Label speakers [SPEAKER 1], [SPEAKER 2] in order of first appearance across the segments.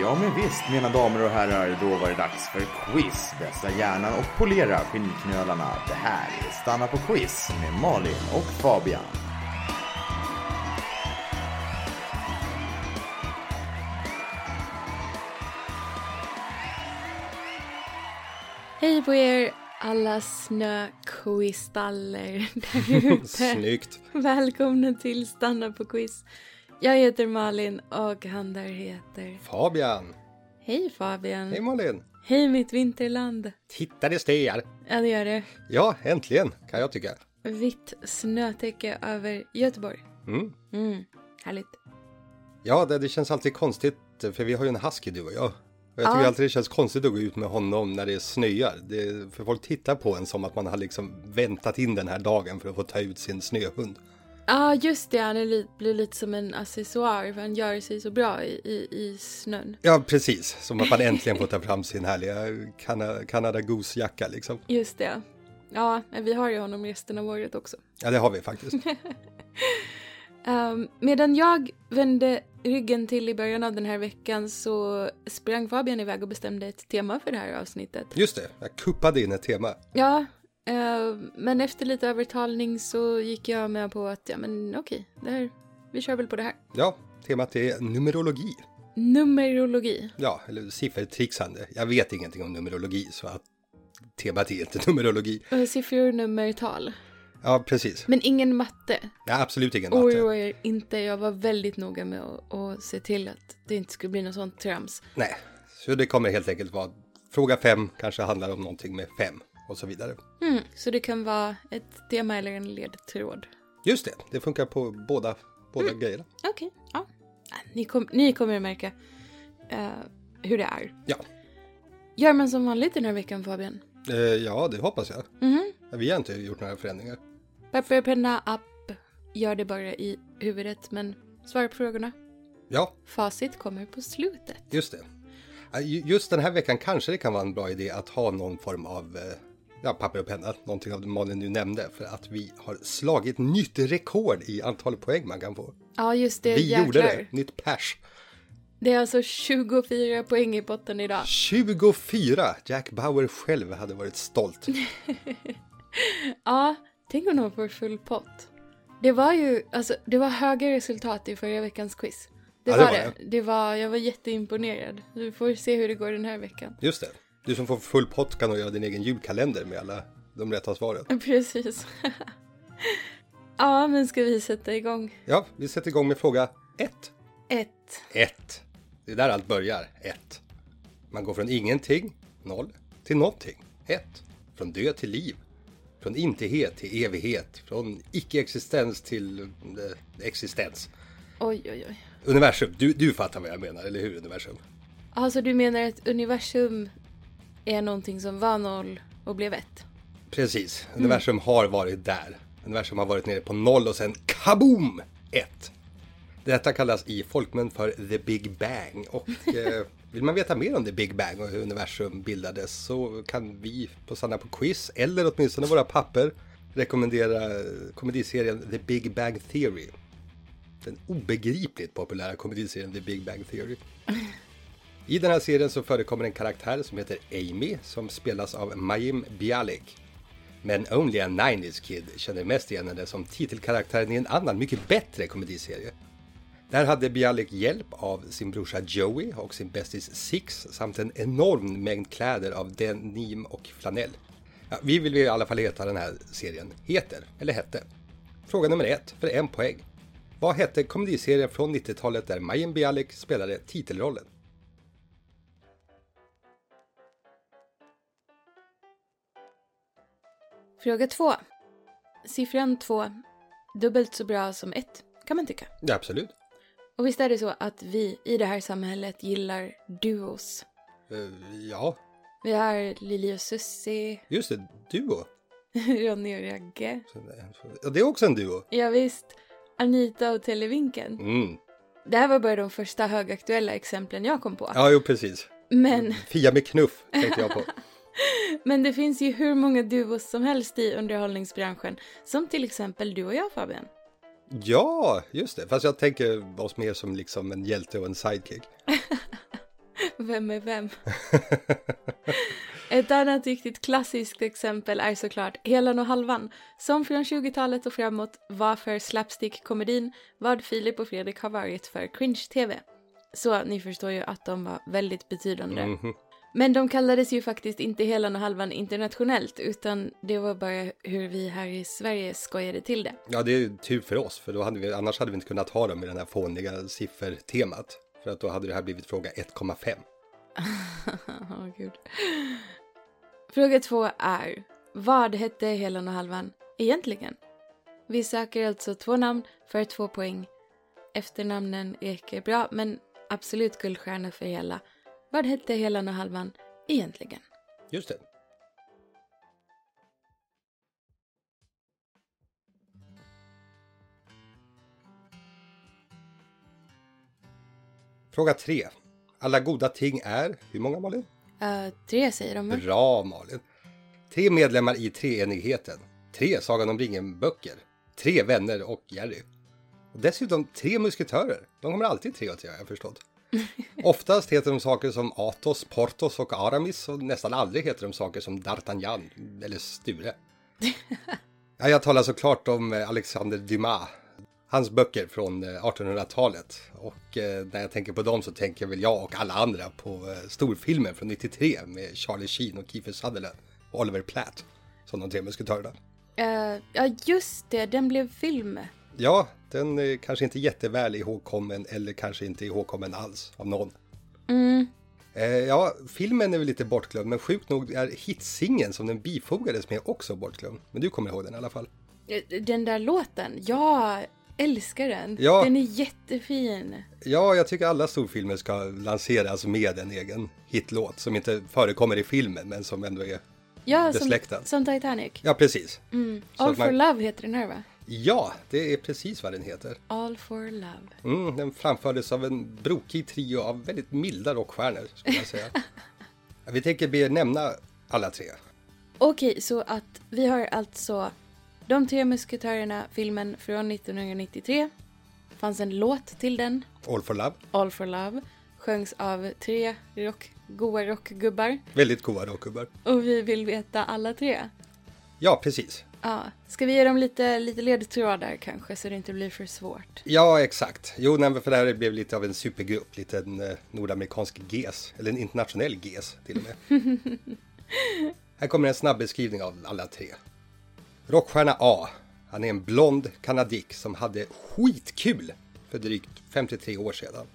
[SPEAKER 1] Ja, men visst, mina damer och herrar, då var det dags för quiz. Vässa hjärnan och polera skinnknölarna. Det här är Stanna på quiz med Malin och Fabian.
[SPEAKER 2] Hej på er alla snökristaller där ute.
[SPEAKER 3] Snyggt.
[SPEAKER 2] Välkomna till Stanna på quiz. Jag heter Malin och han där heter...
[SPEAKER 3] Fabian.
[SPEAKER 2] Hej Fabian!
[SPEAKER 3] Hej Malin.
[SPEAKER 2] Hej mitt vinterland!
[SPEAKER 3] Tittades det er.
[SPEAKER 2] Ja det gör det.
[SPEAKER 3] Ja, äntligen kan jag tycka.
[SPEAKER 2] Vitt snötäcke över Göteborg.
[SPEAKER 3] Mm.
[SPEAKER 2] Mm, härligt.
[SPEAKER 3] Ja, det, det känns alltid konstigt för vi har ju en husky du och jag. Och jag
[SPEAKER 2] Ja.
[SPEAKER 3] tycker alltid det känns konstigt att gå ut med honom när det snöar. Det, för folk tittar på en som att man har liksom väntat in den här dagen för att få ta ut sin snöhund.
[SPEAKER 2] Ja just det, han är li- blir lite som en accessoar för han gör sig så bra i, i, i snön.
[SPEAKER 3] Ja, precis. Som att man äntligen får ta fram sin härliga Cana- Canada Goose-jacka liksom.
[SPEAKER 2] Just det. Ja, men vi har ju honom resten av året också.
[SPEAKER 3] Ja, det har vi faktiskt.
[SPEAKER 2] Ehm, medan jag vände ryggen till i början av den här veckan så sprang Fabian iväg och bestämde ett tema för det här avsnittet.
[SPEAKER 3] Just det, jag kuppade in ett tema.
[SPEAKER 2] Ja, ehm, men efter lite övertalning så gick jag med på att ja men okej, det här, vi kör väl på det här.
[SPEAKER 3] Ja, temat är numerologi.
[SPEAKER 2] Numerologi.
[SPEAKER 3] Ja, eller siffertrixande. Jag vet ingenting om numerologi så att temat är inte numerologi.
[SPEAKER 2] Eh, Siffror, nummer, tal.
[SPEAKER 3] Ja, precis.
[SPEAKER 2] Men ingen matte.
[SPEAKER 3] Nej, absolut ingen matte.
[SPEAKER 2] Oroa er inte, jag var väldigt noga med att, att se till att det inte skulle bli något sånt trams.
[SPEAKER 3] Nej, så det kommer helt enkelt vara fråga fem kanske handlar om någonting med fem och så vidare.
[SPEAKER 2] Mm, så det kan vara ett tema eller en ledtråd.
[SPEAKER 3] Just det, det funkar på båda, båda grejerna.
[SPEAKER 2] Okej. Ja. Ni, kom, ni kommer att märka eh, hur det är.
[SPEAKER 3] Ja.
[SPEAKER 2] Gör man som vanligt den här veckan Fabian?
[SPEAKER 3] Eh, ja, det hoppas jag.
[SPEAKER 2] Mhm.
[SPEAKER 3] Vi har inte gjort några förändringar.
[SPEAKER 2] Papper och penna app. Gör det bara i huvudet men svara på frågorna.
[SPEAKER 3] Ja,
[SPEAKER 2] Facit kommer på slutet.
[SPEAKER 3] just det. Eh, ju- Just den här veckan kanske det kan vara en bra idé att ha någon form av eh, ja, papper och penna, någonting av det Malin nu nämnde, för att vi har slagit nytt rekord i antal poäng man kan få.
[SPEAKER 2] Ja just det,
[SPEAKER 3] Vi
[SPEAKER 2] jäklar.
[SPEAKER 3] gjorde det, nytt pers.
[SPEAKER 2] Det är alltså 24 poäng i potten idag.
[SPEAKER 3] 24! Jack Bauer själv hade varit stolt.
[SPEAKER 2] Ja, tänk om de får full pott. Det var ju, alltså det var höga resultat i förra veckans quiz. Det,
[SPEAKER 3] Ja, det
[SPEAKER 2] var,
[SPEAKER 3] var
[SPEAKER 2] det. det var, jag var jätteimponerad. Vi får se hur det går den här veckan.
[SPEAKER 3] Just det. Du som får full pott kan nog göra din egen julkalender med alla de rätta svaren.
[SPEAKER 2] Precis. ja, men ska vi sätta igång?
[SPEAKER 3] Ja, vi sätter igång med fråga 1.
[SPEAKER 2] Ett.
[SPEAKER 3] 1. Det är där allt börjar. 1. Man går från ingenting, 0, till någonting, 1. Från död till liv. Från intighet till evighet. Från icke-existens till eh, existens.
[SPEAKER 2] Oj, oj, oj.
[SPEAKER 3] Universum, du, du fattar vad jag menar, eller hur universum?
[SPEAKER 2] Alltså du menar att universum är någonting som var noll och blev ett?
[SPEAKER 3] Precis, universum har varit där. Universum har varit nere på noll och sen kaboom! Ett. Detta kallas i folkmun för the big bang och eh, vill man veta mer om the big bang och hur universum bildades så kan vi på Sanna på quiz eller åtminstone våra papper rekommendera eh, komediserien The Big Bang Theory. Den obegripligt populära komediserien The Big Bang Theory. I den här serien så förekommer en karaktär som heter Amy som spelas av Mayim Bialik. Men Only a 90s Kid känner mest igen henne som titelkaraktären i en annan, mycket bättre komediserie. Där hade Bialik hjälp av sin brorsa Joey och sin bästis Six samt en enorm mängd kläder av denim och flanell. Ja, vi vill i alla fall heta den här serien heter, eller hette. Fråga nummer ett, för en poäng. Vad hette komediserien från 90-talet där Mayim Bialik spelade titelrollen?
[SPEAKER 2] Fråga två. Siffran två, dubbelt så bra som ett, kan man tycka.
[SPEAKER 3] Ja, absolut.
[SPEAKER 2] Och visst är det så att vi i det här samhället gillar duos?
[SPEAKER 3] Eh, ja,
[SPEAKER 2] Vi har Lili och Susie,
[SPEAKER 3] just det. Duo.
[SPEAKER 2] Ronny och Ragge.
[SPEAKER 3] Ja, det är också en duo.
[SPEAKER 2] Ja, visst, Anita och Televinken.
[SPEAKER 3] Mm.
[SPEAKER 2] Det här var bara de första högaktuella exemplen jag kom på.
[SPEAKER 3] Ja, jo, precis.
[SPEAKER 2] Men,
[SPEAKER 3] Fia med knuff tänkte jag på.
[SPEAKER 2] men det finns ju hur många duos som helst i underhållningsbranschen. Som till exempel du och jag Fabian.
[SPEAKER 3] Ja, just det. Fast jag tänker oss mer som liksom en hjälte och en sidekick.
[SPEAKER 2] Vem är vem? Ett annat riktigt klassiskt exempel är såklart Helan och Halvan, som från 20-talet och framåt var för slapstick-komedin vad Filip och Fredrik har varit för cringe-tv. Så ni förstår ju att de var väldigt betydande.
[SPEAKER 3] Mhm.
[SPEAKER 2] Men de kallades ju faktiskt inte Helan och Halvan internationellt, utan det var bara hur vi här i Sverige skojade till det.
[SPEAKER 3] Ja, det är ju tur för oss, för då hade vi, annars hade vi inte kunnat ha dem i den här fåniga siffertemat. För att då hade det här blivit fråga 1,5.
[SPEAKER 2] Åh, gud. Fråga två är, vad hette Helan och Halvan egentligen? Vi söker alltså två namn för två poäng. Efternamnen räcker bra, men absolut guldstjärna för hela. Vad hette Helan och Halvan egentligen?
[SPEAKER 3] Just det. Fråga 3. Alla goda ting är, hur många Malin?
[SPEAKER 2] Uh, tre säger de, va?
[SPEAKER 3] Bra Malin! Tre medlemmar i Treenigheten. Tre Sagan om ringen-böcker. Tre vänner och Jerry. Och dessutom tre musketörer. De kommer alltid tre att göra, jag har förstått. Oftast heter de saker som Athos, Portos och Aramis och nästan aldrig heter de saker som D'Artagnan eller Sture. Ja, jag talar såklart om eh, Alexander Dumas. Hans böcker från eh, 1800-talet. Och eh, när jag tänker på dem så tänker väl jag och alla andra på eh, storfilmen från 93 med Charlie Sheen och Kiefer Sutherland och Oliver Platt som de tre musketörerna.
[SPEAKER 2] Eh, ja, just det, den blev film. Eh,
[SPEAKER 3] Ja, den är kanske inte jätteväl ihågkommen eller kanske inte ihågkommen alls av någon. Eh, ja, filmen är väl lite bortglömd, men sjukt nog är hitsingen som den bifogades med också bortglömd. Men du kommer ihåg den i alla fall.
[SPEAKER 2] Eh, Den där låten, jag älskar den.
[SPEAKER 3] Ja.
[SPEAKER 2] Den är jättefin.
[SPEAKER 3] Ja, jag tycker alla storfilmer ska lanseras med en egen hitlåt som inte förekommer i filmen, men som ändå är...
[SPEAKER 2] Ja, som,
[SPEAKER 3] Besläktad.
[SPEAKER 2] som Titanic.
[SPEAKER 3] Ja, precis. Så
[SPEAKER 2] Mm. All
[SPEAKER 3] att man-
[SPEAKER 2] for love heter den här va?
[SPEAKER 3] Ja, det är precis vad den heter.
[SPEAKER 2] All for love.
[SPEAKER 3] Mm, den framfördes av en brokig trio av väldigt milda rockstjärnor, skulle jag säga. Vi tänker be er nämna alla tre.
[SPEAKER 2] Okej, så att vi har alltså De tre musketörerna, filmen från 1993. Fanns en låt till den,
[SPEAKER 3] All for Love,
[SPEAKER 2] All for love, sjöngs av tre rock, goa rockgubbar.
[SPEAKER 3] väldigt goa rockgubbar.
[SPEAKER 2] Och vi vill veta alla tre.
[SPEAKER 3] Ja, precis.
[SPEAKER 2] Ja, ska vi ge dem lite, lite ledtrådar kanske så det inte blir för svårt?
[SPEAKER 3] Ja, exakt. Jo, nej, men för det här blev lite av en supergrupp, lite en eh, nordamerikansk GES, eller en internationell GES till och med. här kommer en snabb beskrivning av alla tre. Rockstjärna A. Han är en blond kanadick som hade skitkul för drygt 53 år sedan.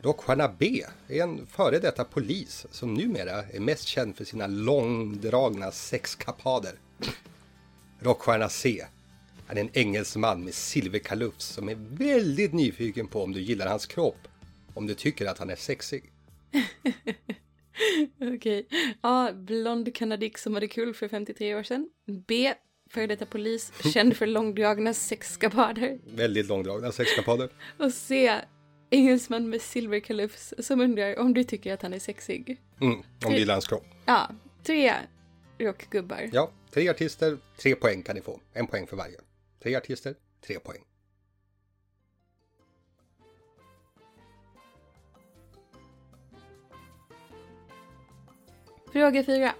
[SPEAKER 3] Rockstjärna B är en före detta polis som numera är mest känd för sina långdragna sexkapader. Rockstjärna C. Han är en engelsman med silverkalufs som är väldigt nyfiken på om du gillar hans kropp. Om du tycker att han är sexig.
[SPEAKER 2] Okej. A. Blond kanadick som hade kul för 53 år sedan. B. Före detta polis, känd för långdragna sexskabader.
[SPEAKER 3] Väldigt långdragna sexkapader.
[SPEAKER 2] Och C. Engelsman med silverkalufs som undrar om du tycker att han är sexig.
[SPEAKER 3] Mm, om du gillar hans kropp.
[SPEAKER 2] Ja, tre rockgubbar.
[SPEAKER 3] Ja, tre artister, tre poäng kan ni få. En poäng för varje. Tre artister, tre poäng.
[SPEAKER 2] Fråga fyra.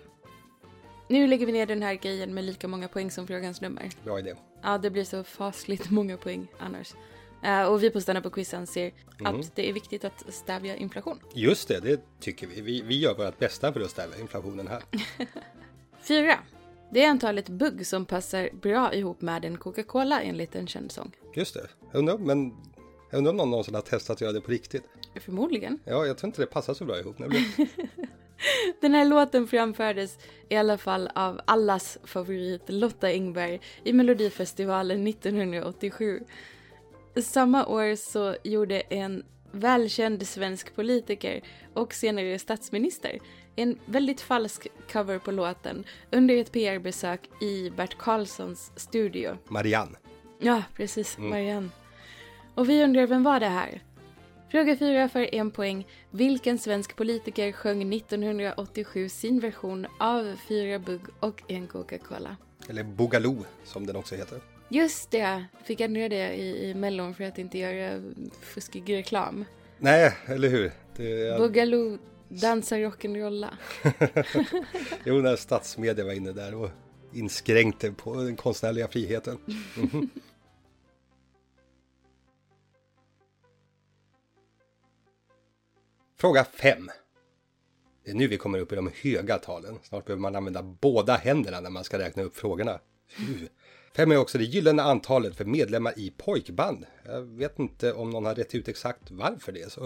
[SPEAKER 2] Nu lägger vi ner den här grejen med lika många poäng som frågans nummer.
[SPEAKER 3] Bra idé.
[SPEAKER 2] Ja, det blir så fasligt många poäng annars. Eh, och vi på Stanna på Quiz anser att det är viktigt att stävja inflation.
[SPEAKER 3] Just det, det tycker vi. Vi, vi gör vårt bästa för att stävja inflationen här.
[SPEAKER 2] Fyra. Det är antalet bugg som passar bra ihop med en Coca-Cola enligt en känd sång.
[SPEAKER 3] Just det. Jag undrar, men, jag undrar om någon någonsin har testat att göra det på riktigt.
[SPEAKER 2] Förmodligen.
[SPEAKER 3] Ja, jag tror inte det passar så bra ihop nämligen.
[SPEAKER 2] Den här låten framfördes i alla fall av allas favorit Lotta Engberg i Melodifestivalen 1987. Samma år så gjorde en välkänd svensk politiker och senare statsminister en väldigt falsk cover på låten under ett PR-besök i Bert Karlssons studio.
[SPEAKER 3] Marianne.
[SPEAKER 2] Ja, precis. Marianne. Och vi undrar, vem var det här? Fråga fyra för en poäng. Vilken svensk politiker sjöng 1987 sin version av Fyra bugg och en Coca-Cola?
[SPEAKER 3] Eller Boogaloo som den också heter.
[SPEAKER 2] Just det! Fick ändra det i, i Mellon för att inte göra fuskig reklam.
[SPEAKER 3] Nej, eller hur? Det är...
[SPEAKER 2] Boogaloo dansar rock'n'rolla.
[SPEAKER 3] Jo, när statsmedia var inne där och inskränkte på den konstnärliga friheten. Mhm. Fråga 5. Det är nu vi kommer upp i de höga talen. Snart behöver man använda båda händerna när man ska räkna upp frågorna. Fy. Fem är också det gyllene antalet för medlemmar i pojkband. Jag vet inte om någon har rätt ut exakt varför det är så.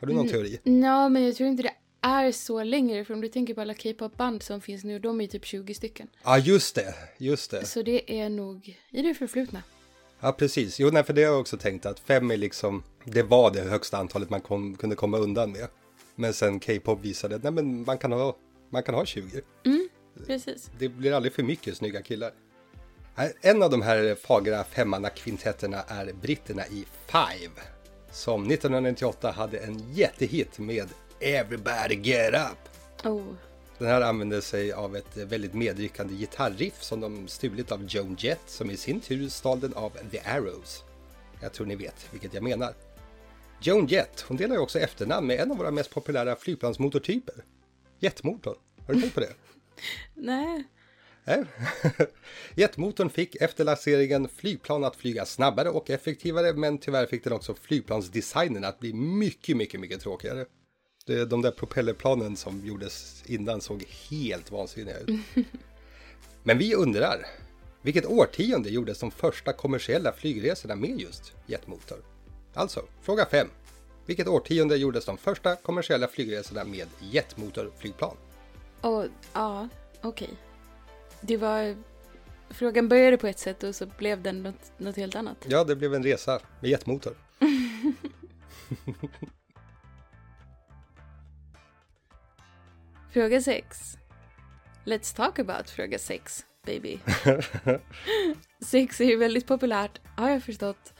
[SPEAKER 3] Har du någon teori?
[SPEAKER 2] Ja, men jag tror inte det är så längre. För om du tänker på alla K-pop-band som finns nu, de är typ 20 stycken.
[SPEAKER 3] Ja, just det, just det.
[SPEAKER 2] Så det är nog i det förflutna.
[SPEAKER 3] Ja, precis. Jo, nej, för det har jag också tänkt att fem är liksom, det var det högsta antalet man kom, kunde komma undan med. Men sen K-pop visade, nej men man kan ha, man kan ha 20.
[SPEAKER 2] Precis.
[SPEAKER 3] Det blir aldrig för mycket snygga killar. Nej, En av de här fagra femmannakvintetterna är britterna i Five. Som 1998 hade en jättehit med Everybody Get Up.
[SPEAKER 2] Oh.
[SPEAKER 3] Den här använder sig av ett väldigt medryckande gitarriff som de stulit av Joan Jett som i sin tur stal den av The Arrows. Jag tror ni vet vilket jag menar. Joan Jett, hon delar ju också efternamn med en av våra mest populära flygplansmotortyper. Jetmotorn. Har du tänkt på det?
[SPEAKER 2] Nej.
[SPEAKER 3] Nej. Jetmotorn fick efter lanseringen flygplan att flyga snabbare och effektivare men tyvärr fick den också flygplansdesignen att bli mycket, mycket, mycket tråkigare. Det- De där propellerplanen som gjordes innan såg helt vansinniga ut. Men vi undrar, vilket årtionde gjordes de första kommersiella flygresorna med just jetmotor? Alltså, fråga 5. Vilket årtionde gjordes de första kommersiella flygresorna med jetmotorflygplan?
[SPEAKER 2] Och ja, okej. Det var... Frågan började på ett sätt och så blev den något, något helt annat.
[SPEAKER 3] Ja, det blev en resa med jetmotor.
[SPEAKER 2] Fråga sex. Let's talk about fråga sex, baby. sex är ju väldigt populärt, har jag förstått.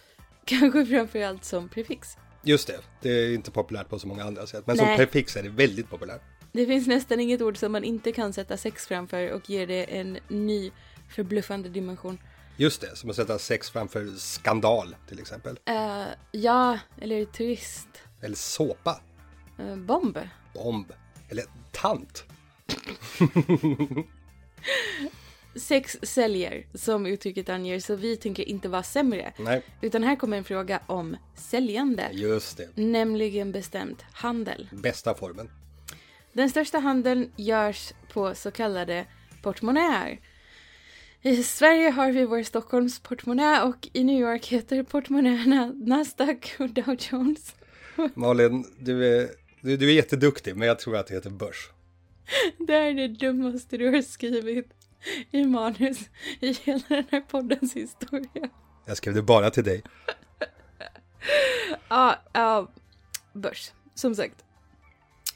[SPEAKER 2] Kanske framförallt som prefix.
[SPEAKER 3] Just det, det är inte populärt på så många andra sätt. Men
[SPEAKER 2] Nej.
[SPEAKER 3] som prefix är det väldigt populärt.
[SPEAKER 2] Det finns nästan inget ord som man inte kan sätta sex framför och ger det en ny förbluffande dimension.
[SPEAKER 3] Just det, som att sätta sex framför skandal till exempel.
[SPEAKER 2] Eh, ja, eller turist.
[SPEAKER 3] Eller såpa,
[SPEAKER 2] eh, bomb.
[SPEAKER 3] bomb, eller tant.
[SPEAKER 2] Sex säljer, som uttrycket anger, så vi tänker inte vara sämre.
[SPEAKER 3] Nej,
[SPEAKER 2] Utan här kommer en fråga om säljande.
[SPEAKER 3] just det.
[SPEAKER 2] Nämligen bestämt handel.
[SPEAKER 3] Bästa formen.
[SPEAKER 2] Den största handeln görs på så kallade portmonnäer. I Sverige har vi vår Stockholms portmonnä och i New York heter portmonnäerna Nasdaq och Dow Jones.
[SPEAKER 3] Malin, du är, du, du är jätteduktig, men jag tror att det heter börs.
[SPEAKER 2] Det här är det dummaste du har skrivit i manus i hela den här poddens historia.
[SPEAKER 3] Jag skrev det bara till dig.
[SPEAKER 2] Ja, ja, börs, som sagt.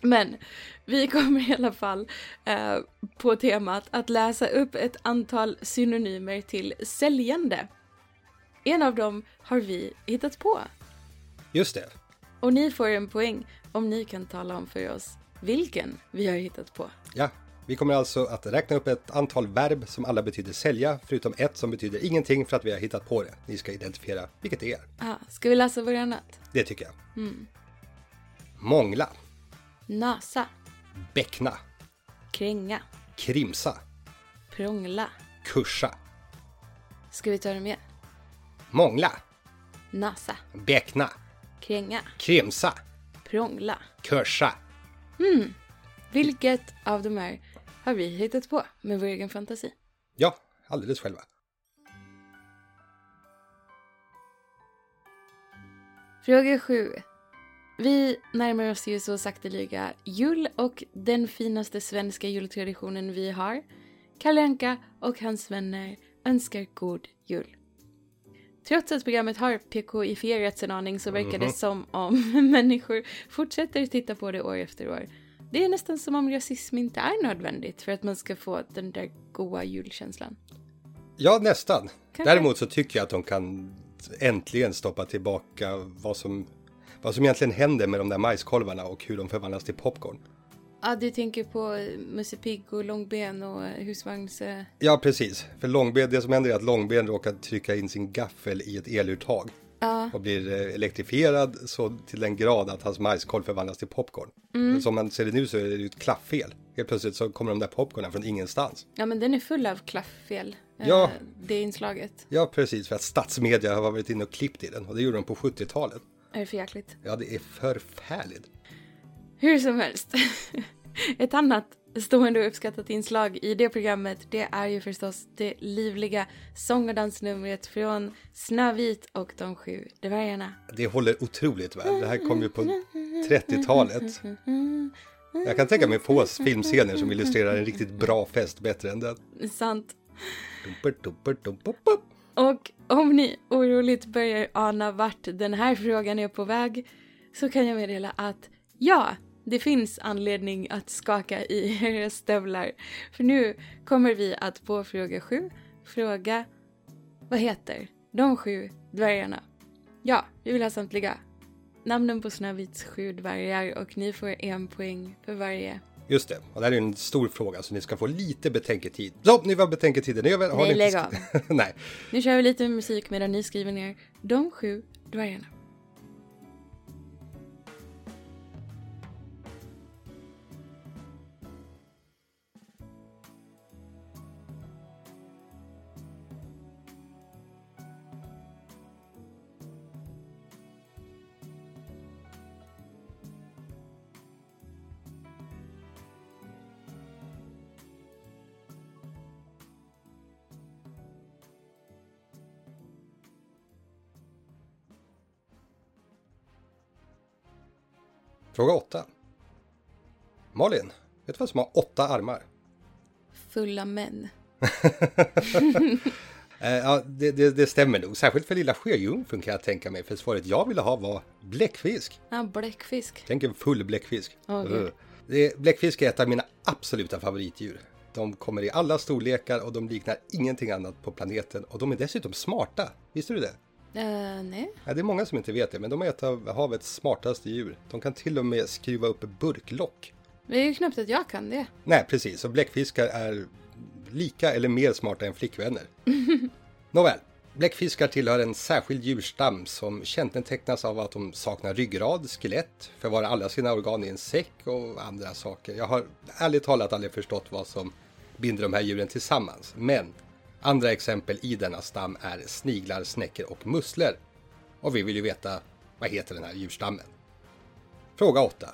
[SPEAKER 2] Men vi kommer i alla fall eh, på temat att läsa upp ett antal synonymer till säljande. En av dem har vi hittat på.
[SPEAKER 3] Just det.
[SPEAKER 2] Och ni får en poäng om ni kan tala om för oss vilken vi har hittat på.
[SPEAKER 3] Ja, vi kommer alltså att räkna upp ett antal verb som alla betyder sälja, förutom ett som betyder ingenting för att vi har hittat på det. Ni ska identifiera vilket det är.
[SPEAKER 2] Ah, ska vi läsa varannat?
[SPEAKER 3] Det tycker jag. Mångla,
[SPEAKER 2] Nasa,
[SPEAKER 3] bäckna,
[SPEAKER 2] kränga,
[SPEAKER 3] krimsa,
[SPEAKER 2] prångla.
[SPEAKER 3] kursa,
[SPEAKER 2] Ska vi ta dem igen?
[SPEAKER 3] mångla,
[SPEAKER 2] Nasa,
[SPEAKER 3] bäckna,
[SPEAKER 2] kränga,
[SPEAKER 3] krimsa,
[SPEAKER 2] prångla.
[SPEAKER 3] kursa.
[SPEAKER 2] Vilket av de här har vi hittat på med vår egen fantasi?
[SPEAKER 3] Ja, alldeles själva.
[SPEAKER 2] Fråga sju. Vi närmar oss ju så sakteliga jul och den finaste svenska jultraditionen vi har. Kalle Anka och hans vänner önskar god jul. Trots att programmet har PKIfierats en aning så verkar det som om människor fortsätter titta på det år efter år. Det är nästan som om rasism inte är nödvändigt för att man ska få den där goa julkänslan.
[SPEAKER 3] Ja, nästan. Däremot så tycker jag att de kan äntligen stoppa tillbaka vad som, vad som egentligen händer med de där majskolvarna och hur de förvandlas till popcorn.
[SPEAKER 2] Ja, du tänker på eh, Musse Pigg och Långben och eh, husvagns... eh,
[SPEAKER 3] Ja, precis. För långben, det som händer är att långben råkar trycka in sin gaffel i ett eluttag. och blir eh, elektrifierad så till den grad att hans majskolv förvandlas till popcorn. Men Som man ser det nu så är det ju ett klafffel. Helt plötsligt så kommer de där popcornen från ingenstans.
[SPEAKER 2] Ja, men den är full av klafffel. eh,
[SPEAKER 3] Ja.
[SPEAKER 2] Det inslaget.
[SPEAKER 3] Ja, precis, för att statsmedia har varit inne och klippt i den och det gjorde de på 70-talet.
[SPEAKER 2] Är det för jäkligt?
[SPEAKER 3] Ja, det är förfärligt.
[SPEAKER 2] Hur som helst. Ett annat stående och uppskattat inslag i det programmet det är ju förstås det livliga sång och dansnumret från Snövit och de sju dvärgarna.
[SPEAKER 3] Det håller otroligt väl. Det här kom ju på 30-talet. Jag kan tänka mig få filmscener som illustrerar en riktigt bra fest bättre än den.
[SPEAKER 2] Sant.
[SPEAKER 3] Dumper, dumper, dumper, pop.
[SPEAKER 2] Och om ni oroligt börjar ana vart den här frågan är på väg så kan jag meddela att ja, det finns anledning att skaka i era stövlar. För nu kommer vi att på fråga sju fråga vad heter de sju dvärgarna? Ja, vi vill ha samtliga. Namnen på Snövits sju dvärgar och ni får en poäng för varje.
[SPEAKER 3] Just det, och det här är en stor fråga så ni ska få lite betänketid. Så, nu var betänketiden över. Har
[SPEAKER 2] Nej,
[SPEAKER 3] ni
[SPEAKER 2] lägg
[SPEAKER 3] inte... av. Nej,
[SPEAKER 2] Nu kör vi lite musik medan ni skriver ner de sju dvärgarna.
[SPEAKER 3] fråga åtta. Malin, vet du vad som har åtta armar?
[SPEAKER 2] Fulla män.
[SPEAKER 3] Eh, ja, det, det, det stämmer nog, särskilt för lilla sjöjungfrun kan jag tänka mig. För svaret jag ville ha var bläckfisk.
[SPEAKER 2] Ah, bläckfisk.
[SPEAKER 3] Tänk en full bläckfisk.
[SPEAKER 2] Åh, gud.
[SPEAKER 3] Ugh. det, bläckfisk är ett av mina absoluta favoritdjur. De kommer i alla storlekar och de liknar ingenting annat på planeten. Och de är dessutom smarta. Visste du det?
[SPEAKER 2] Eh, nej.
[SPEAKER 3] Ja, det är många som inte vet det, men de är ett av havets smartaste djur. De kan till och med skruva upp burklock.
[SPEAKER 2] Det är ju knappt att jag kan det.
[SPEAKER 3] Nej, precis. Och bläckfiskar är lika eller mer smarta än flickvänner. Nåväl, bläckfiskar tillhör en särskild djurstam som kännetecknas av att de saknar ryggrad, skelett, förvarar alla sina organ i en säck och andra saker. Jag har ärligt talat aldrig förstått vad som binder de här djuren tillsammans, men andra exempel i denna stam är sniglar, snäckor och musslor. Och vi vill ju veta, vad heter den här djurstammen? Fråga 8.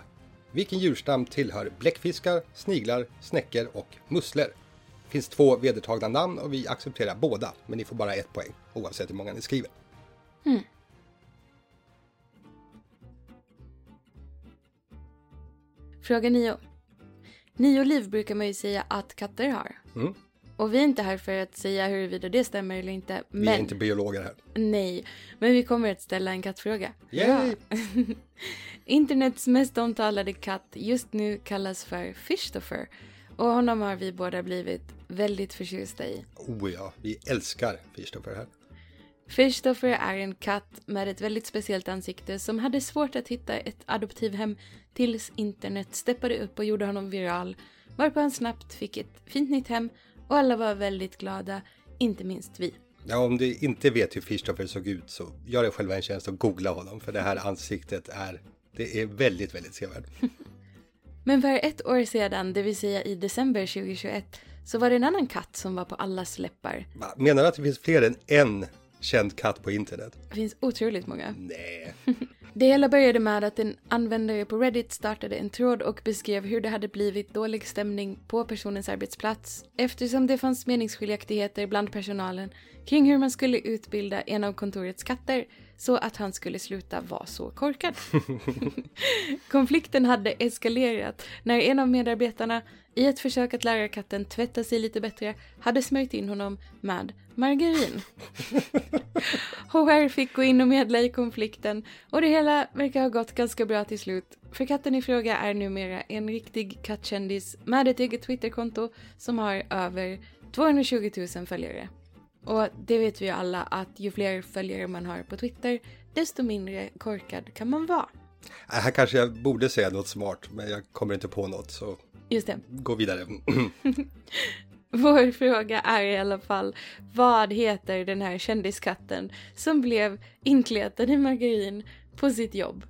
[SPEAKER 3] Vilken djurstam tillhör bläckfiskar, sniglar, snäckor och musslor? Det finns två vedertagna namn och vi accepterar båda, men ni får bara ett poäng oavsett hur många ni skriver.
[SPEAKER 2] Fråga nio. Nio liv brukar man ju säga att katter har.
[SPEAKER 3] Mm.
[SPEAKER 2] Och vi är inte här för att säga huruvida det stämmer eller inte.
[SPEAKER 3] Vi
[SPEAKER 2] Men,
[SPEAKER 3] är inte biologer här.
[SPEAKER 2] nej. Men vi kommer att ställa en kattfråga.
[SPEAKER 3] Yay!
[SPEAKER 2] Internets mest omtalade katt just nu kallas för Fishtofer. Och honom har vi båda blivit väldigt förtjusta i.
[SPEAKER 3] Oh ja, vi älskar Fyrstoffer här.
[SPEAKER 2] Fishtofer är en katt med ett väldigt speciellt ansikte som hade svårt att hitta ett adoptivhem tills internet steppade upp och gjorde honom viral. Varpå han snabbt fick ett fint nytt hem och alla var väldigt glada, inte minst vi.
[SPEAKER 3] Ja, om du inte vet hur Fyrstoffer såg ut så gör dig själva en tjänst och googla honom för det här ansiktet är, det är väldigt, väldigt sevärt.
[SPEAKER 2] Men för ett år sedan, det vill säga i december 2021, så var det en annan katt som var på allas läppar.
[SPEAKER 3] Va, Menar du att det finns fler än en känd katt på internet?
[SPEAKER 2] Det finns otroligt många.
[SPEAKER 3] Nej.
[SPEAKER 2] Det hela började med att en användare på Reddit startade en tråd och beskrev hur det hade blivit dålig stämning på personens arbetsplats eftersom det fanns meningsskiljaktigheter bland personalen kring hur man skulle utbilda en av kontorets katter så att han skulle sluta vara så korkad. Konflikten hade eskalerat när en av medarbetarna i ett försök att lära katten tvätta sig lite bättre hade smörjt in honom med margarin. HR fick gå in och medla i konflikten och det hela verkar ha gått ganska bra till slut. För katten i fråga är numera en riktig kattkändis med ett eget Twitterkonto som har över 220 000 följare. Och det vet vi ju alla att ju fler följare man har på Twitter, desto mindre korkad kan man vara.
[SPEAKER 3] Äh, Här kanske jag borde säga något smart, men jag kommer inte på något så
[SPEAKER 2] Just det.
[SPEAKER 3] gå vidare.
[SPEAKER 2] Vår fråga är i alla fall, vad heter den här kändiskatten som blev inkletad i margarin på sitt jobb?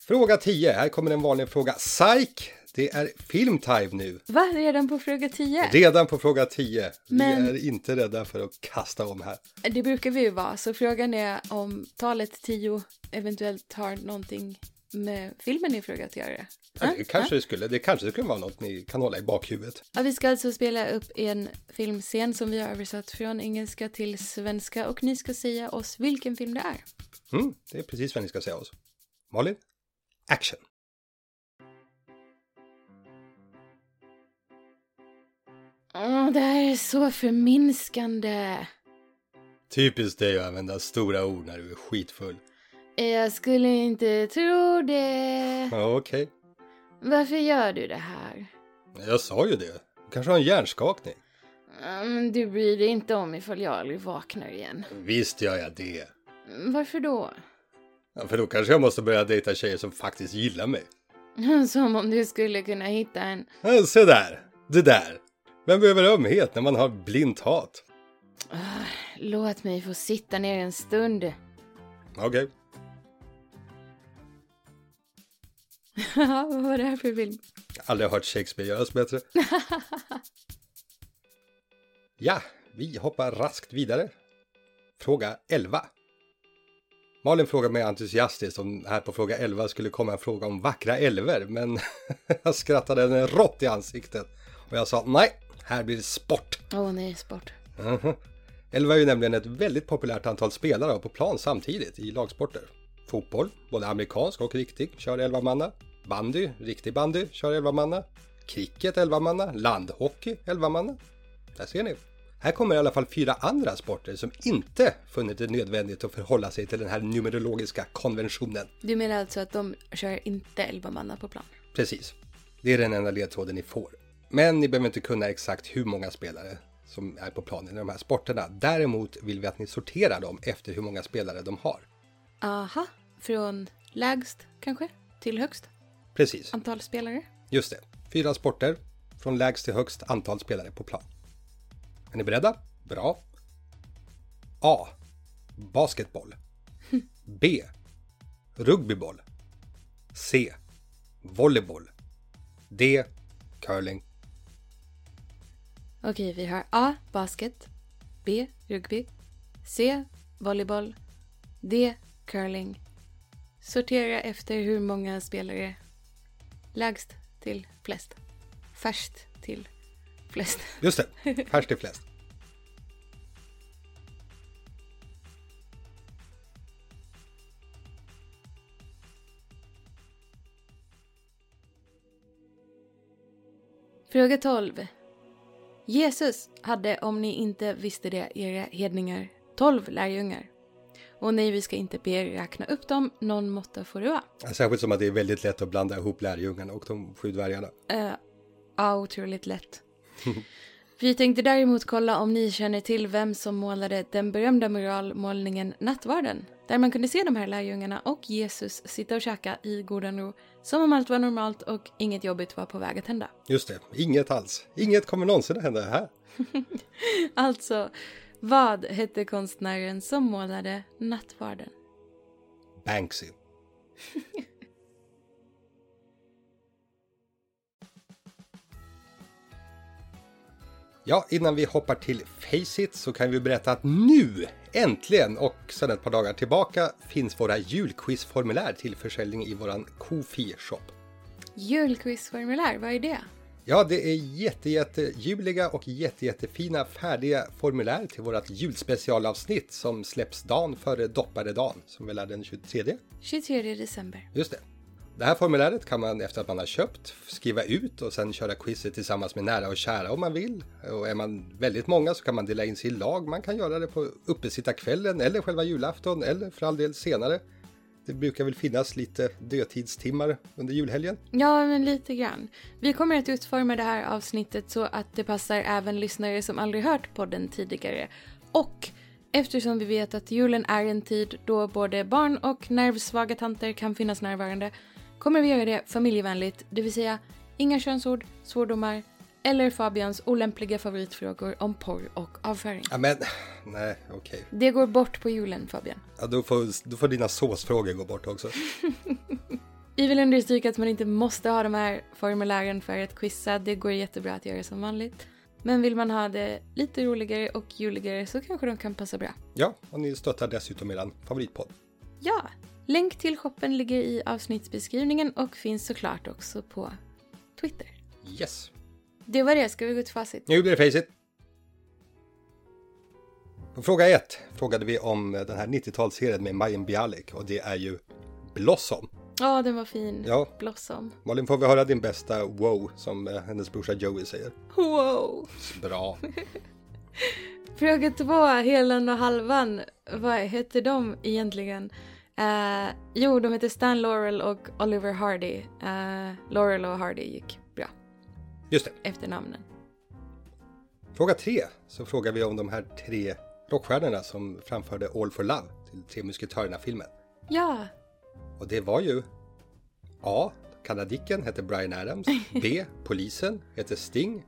[SPEAKER 3] Fråga 10. Här kommer en vanlig fråga. Psych! Det är filmtime nu.
[SPEAKER 2] Va? Redan på fråga 10?
[SPEAKER 3] Redan på fråga 10.
[SPEAKER 2] Men-
[SPEAKER 3] Vi är inte rädda för att kasta om här.
[SPEAKER 2] Det brukar vi ju vara, så frågan är om talet 10 eventuellt har någonting med filmen i fråga att göra.
[SPEAKER 3] Ja, det kanske det skulle. Det kanske skulle vara något ni kan hålla i bakhuvudet.
[SPEAKER 2] Ja, vi ska alltså spela upp en filmscen som vi har översatt från engelska till svenska och ni ska säga oss vilken film det är.
[SPEAKER 3] Mm, det är precis vad ni ska säga oss. Malin? Action!
[SPEAKER 2] Åh, det här är så förminskande.
[SPEAKER 3] Typiskt dig att använda stora ord när du är skitfull.
[SPEAKER 2] Jag skulle inte tro det.
[SPEAKER 3] Ja, okej.
[SPEAKER 2] Varför gör du det här?
[SPEAKER 3] Jag sa ju det. Du kanske har en hjärnskakning.
[SPEAKER 2] Mm, Du bryr dig inte om ifall jag aldrig vaknar igen.
[SPEAKER 3] Visst gör jag det.
[SPEAKER 2] Mm, Varför då?
[SPEAKER 3] Ja, för då kanske jag måste börja dejta tjejer som faktiskt gillar mig.
[SPEAKER 2] Som om du skulle kunna hitta en...
[SPEAKER 3] Ja, se där! Det där! Vem behöver ömhet när man har blint hat?
[SPEAKER 2] Låt mig få sitta ner en stund.
[SPEAKER 3] Okej.
[SPEAKER 2] Haha, Vad var det här för film?
[SPEAKER 3] Aldrig hört Shakespeare göras bättre. ja, vi hoppar raskt vidare. Fråga 11. Malin frågar mig entusiastiskt om här på fråga 11 skulle komma en fråga om vackra älvor, men jag skrattade henne rått i ansiktet och jag sa nej, här blir det sport.
[SPEAKER 2] Åh nej, sport.
[SPEAKER 3] Elva är ju nämligen ett väldigt populärt antal spelare på plan samtidigt i lagsporter. Fotboll, både amerikansk och riktig, kör elva manna. Bandy, riktig bandy, kör elva manna. Cricket elva manna, landhockey elva manna. Där ser ni. Här kommer i alla fall fyra andra sporter som inte funnit det nödvändigt att förhålla sig till den här numerologiska konventionen.
[SPEAKER 2] Du menar alltså att de kör inte elva manna på plan?
[SPEAKER 3] Precis. Det är den enda ledtråden ni får. Men ni behöver inte kunna exakt hur många spelare som är på planen i de här sporterna. Däremot vill vi att ni sorterar dem efter hur många spelare de har.
[SPEAKER 2] Aha, från lägst kanske till högst
[SPEAKER 3] Precis,
[SPEAKER 2] antal spelare?
[SPEAKER 3] just det. Fyra sporter, från lägst till högst antal spelare på plan. Är ni beredda? Bra. A. Basketboll. B. Rugbyboll. C. Volleyboll. D. Curling.
[SPEAKER 2] Okej, vi har A. Basket. B. Rugby. C. Volleyboll. D. Curling. Sortera efter hur många spelare. Lägst till flest. Färst till flest.
[SPEAKER 3] Just det, färskt är flest.
[SPEAKER 2] Fråga 12. Jesus hade, om ni inte visste det, era hedningar 12 lärjungar. Och nej, vi ska inte be er räkna upp dem, någon måtta får det vara.
[SPEAKER 3] Särskilt som att det är väldigt lätt att blanda ihop lärjungarna och de sju dvärgarna.
[SPEAKER 2] Eh, Ja, otroligt lätt. Vi tänkte däremot kolla om ni känner till vem som målade den berömda muralmålningen Nattvarden. Där man kunde se de här lärjungarna och Jesus sitta och käka i godan ro. Som om allt var normalt och inget jobbigt var på väg att hända.
[SPEAKER 3] Just det, inget alls. Inget kommer någonsin att hända här.
[SPEAKER 2] Alltså, vad hette konstnären som målade Nattvarden?
[SPEAKER 3] Banksy. Ja, innan vi hoppar till Faceit så kan vi berätta att nu, äntligen och sedan ett par dagar tillbaka finns våra julquizformulär till försäljning i våran Kofi-shop.
[SPEAKER 2] Julquizformulär, vad är det?
[SPEAKER 3] Ja, det är jätte, jätte juliga och jätte, jättefina färdiga formulär till vårt julspecialavsnitt som släpps dagen före dopparedagen, som väl är den 23.
[SPEAKER 2] 23 december.
[SPEAKER 3] Just det. Det här formuläret kan man efter att man har köpt skriva ut och sen köra quizet tillsammans med nära och kära om man vill. Och är man väldigt många så kan man dela in sig i lag. Man kan göra det på uppesittarkvällen eller själva julafton eller för all del senare. Det brukar väl finnas lite dödtidstimmar under julhelgen.
[SPEAKER 2] Ja, men lite grann. Vi kommer att utforma det här avsnittet så att det passar även lyssnare som aldrig hört podden tidigare. Och eftersom vi vet att julen är en tid då både barn och nervsvaga tanter kan finnas närvarande kommer vi göra det familjevänligt, det vill säga inga könsord, svordomar eller Fabians olämpliga favoritfrågor om porr och avföring.
[SPEAKER 3] Ja, men nej, okej.
[SPEAKER 2] Det går bort på julen, Fabian.
[SPEAKER 3] Ja, då, får, då får dina såsfrågor gå bort också.
[SPEAKER 2] Vi vill understryka att man inte måste ha de här formulären för att quizza. Det går jättebra att göra som vanligt. Men vill man ha det lite roligare och juligare så kanske de kan passa bra.
[SPEAKER 3] Ja, och ni stöttar dessutom eran favoritpodd.
[SPEAKER 2] Ja! Länk till shoppen ligger i avsnittsbeskrivningen och finns såklart också på Twitter.
[SPEAKER 3] Yes.
[SPEAKER 2] Det var det, ska vi gå till facit?
[SPEAKER 3] Nu blir det Facit. På fråga ett frågade vi om den här 90-talsserien med Marian Bialik och det är ju Blossom.
[SPEAKER 2] Ja, den var fin.
[SPEAKER 3] Ja.
[SPEAKER 2] Blossom.
[SPEAKER 3] Malin, får vi höra din bästa wow som eh, hennes brorsa Joey säger?
[SPEAKER 2] Wow!
[SPEAKER 3] Bra.
[SPEAKER 2] Fråga två, Helan och Halvan. Vad heter de egentligen? Eh, jo, de heter Stan Laurel och Oliver Hardy. Eh, Laurel och Hardy gick bra
[SPEAKER 3] Just det.
[SPEAKER 2] efter namnen.
[SPEAKER 3] Fråga tre så frågar vi om de här tre rockstjärnorna som framförde All for Love till Tre Musketörerna-filmen.
[SPEAKER 2] Ja,
[SPEAKER 3] Och det var ju A. Kanadicken hette Brian Adams. B. Polisen hette Sting.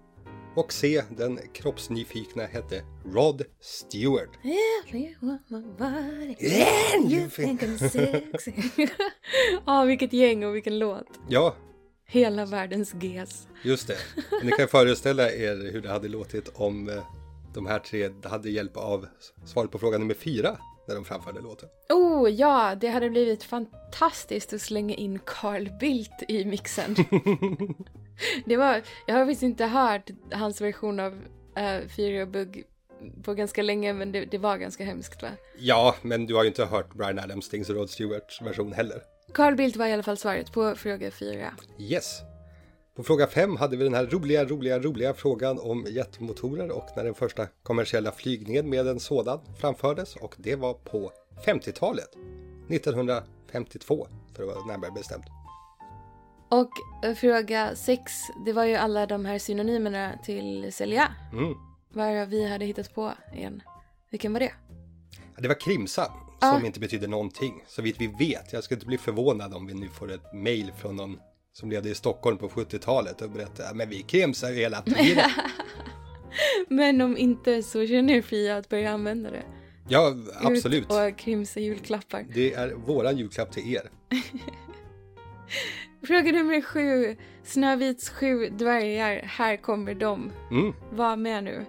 [SPEAKER 3] Och C. Den kroppsnyfikna hette Rod Stewart. you think
[SPEAKER 2] ah, vilket gäng och vilken låt.
[SPEAKER 3] Ja,
[SPEAKER 2] Hela världens GES.
[SPEAKER 3] just det. Men Ni kan föreställa er hur det hade låtit om eh, de här tre hade hjälp av svaret på fråga nummer fyra när de framförde låten.
[SPEAKER 2] Oh ja, det hade blivit fantastiskt att slänga in Carl Bildt i mixen. det var, jag har visst inte hört hans version av uh, Fyra bugg på ganska länge, men det, det var ganska hemskt va?
[SPEAKER 3] Ja, men du har ju inte hört Brian Adams, Stings och Rod Stewarts version heller.
[SPEAKER 2] Carl Bildt var i alla fall svaret på fråga fyra.
[SPEAKER 3] Yes. På fråga 5 hade vi den här roliga, roliga, roliga frågan om jetmotorer och när den första kommersiella flygningen med en sådan framfördes och det var på 50-talet. 1952 för att vara närmare bestämt.
[SPEAKER 2] Och eh, fråga sex, det var ju alla de här synonymerna till Celia.
[SPEAKER 3] Mm.
[SPEAKER 2] Varav vi hade hittat på en. Vilken var det?
[SPEAKER 3] Ja, Det var Krimsa som inte betyder någonting så vitt vi vet. Jag skulle inte bli förvånad om vi nu får ett mail från någon som levde i Stockholm på 70-talet och berättar "Ja, men vi krimsar ju hela tiden.
[SPEAKER 2] Men om inte så känner er fria att börja använda det.
[SPEAKER 3] Ja, absolut.
[SPEAKER 2] Ut och krimsa julklappar.
[SPEAKER 3] Det är våran julklapp till er.
[SPEAKER 2] Fråga nummer sju. Snövits sju dvärgar, här kommer de.
[SPEAKER 3] Mm.
[SPEAKER 2] Var med nu.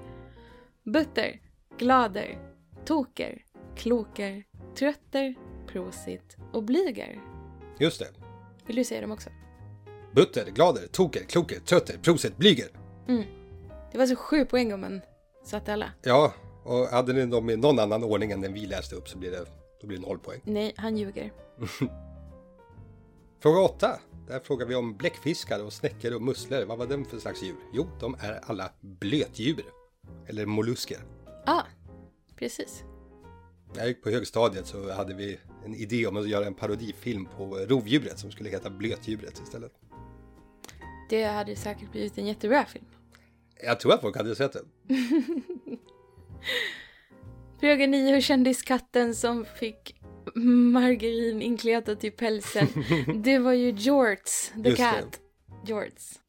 [SPEAKER 2] Butter, glader, toker, kloker, trötter, prosit och blyger.
[SPEAKER 3] Just det.
[SPEAKER 2] Vill du säga dem också?
[SPEAKER 3] Butter, glader, toker, kloker, trötter, proset, blyger.
[SPEAKER 2] Det var så sju poäng om man satte alla.
[SPEAKER 3] Ja, och hade ni dem i någon annan ordning än den vi läste upp så blir det, då blir det noll poäng.
[SPEAKER 2] Nej, han ljuger.
[SPEAKER 3] Fråga 8. Där frågar vi om bläckfiskar och snäckor och musslor. Vad var de för slags djur? Jo, de är alla blötdjur. Eller mollusker.
[SPEAKER 2] Ja, ah, precis.
[SPEAKER 3] När jag gick på högstadiet så hade vi en idé om att göra en parodifilm på rovdjuret som skulle heta Blötdjuret istället.
[SPEAKER 2] Det hade säkert blivit en jättebra film.
[SPEAKER 3] Jag tror att folk hade sett det.
[SPEAKER 2] Fråga 9. Hur kändes katten som fick margarin inkletat i pälsen? Det var ju Jorts, the
[SPEAKER 3] Just det.
[SPEAKER 2] cat. Jorts.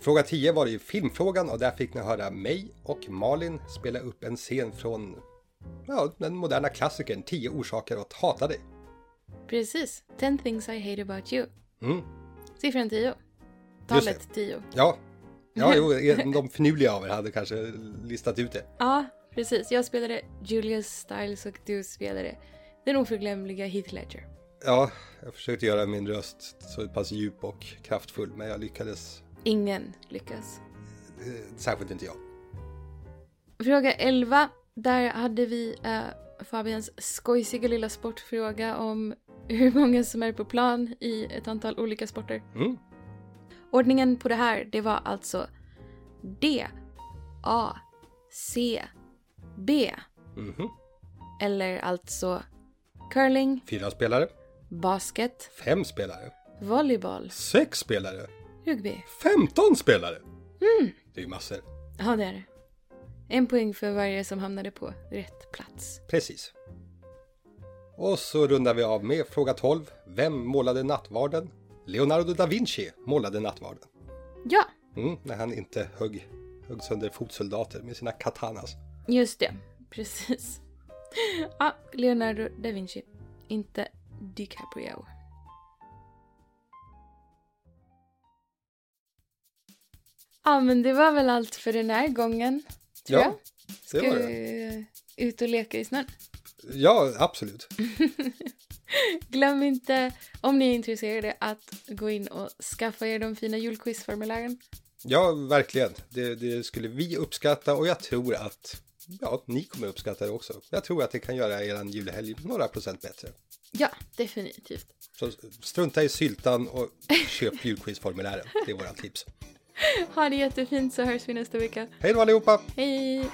[SPEAKER 3] Fråga 10 var det ju filmfrågan och där fick ni höra mig och Malin spela upp en scen från ja, den moderna klassikern 10 orsaker att hata dig.
[SPEAKER 2] Precis. 10 things I hate about you.
[SPEAKER 3] Mm.
[SPEAKER 2] Siffran 10.
[SPEAKER 3] Just
[SPEAKER 2] Talet 10.
[SPEAKER 3] Ja, ja jo, de finurliga av er hade kanske listat ut det.
[SPEAKER 2] Ja, precis. Jag spelade Julius Stiles och du spelade den oförglömliga Heath Ledger.
[SPEAKER 3] Ja, jag försökte göra min röst så pass djup och kraftfull men jag lyckades
[SPEAKER 2] Ingen lyckas.
[SPEAKER 3] eh, särskilt inte jag.
[SPEAKER 2] Fråga 11. Där hade vi eh, Fabians skojsiga lilla sportfråga om hur många som är på plan i ett antal olika sporter.
[SPEAKER 3] Mm.
[SPEAKER 2] Ordningen på det här, det var alltså D, A, C, B.
[SPEAKER 3] Mhm.
[SPEAKER 2] Eller alltså curling,
[SPEAKER 3] Fyra spelare,
[SPEAKER 2] basket,
[SPEAKER 3] fem spelare,
[SPEAKER 2] volleyboll,
[SPEAKER 3] sex spelare,
[SPEAKER 2] rugby.
[SPEAKER 3] femton spelare! Det är ju massor.
[SPEAKER 2] Ja, det är det. En poäng för varje som hamnade på rätt plats.
[SPEAKER 3] Precis. Och så rundar vi av med fråga 12. Vem målade nattvarden? Leonardo da Vinci målade nattvarden.
[SPEAKER 2] Ja,
[SPEAKER 3] Mm, när han inte högg, högg sönder fotsoldater med sina katanas.
[SPEAKER 2] just det. Precis. Ja, Leonardo da Vinci. Inte DiCaprio. Ja, men det var väl allt för den här gången. Tror
[SPEAKER 3] Ja,
[SPEAKER 2] jag.
[SPEAKER 3] Det
[SPEAKER 2] Ska
[SPEAKER 3] var det.
[SPEAKER 2] vi ut och leka i snön?
[SPEAKER 3] Ja, absolut.
[SPEAKER 2] Glöm inte, om ni är intresserade, att gå in och skaffa er de fina julquizformulären.
[SPEAKER 3] Ja, verkligen. Det, det skulle vi uppskatta och jag tror att ja, ni kommer uppskatta det också. Jag tror att det kan göra er julhelg några procent bättre.
[SPEAKER 2] Ja, definitivt.
[SPEAKER 3] Så strunta i syltan och köp julquizformulären. Det är våra tips.
[SPEAKER 2] Ha det jättefint så hörs vi nästa vecka.
[SPEAKER 3] Hej då allihopa!
[SPEAKER 2] Hej!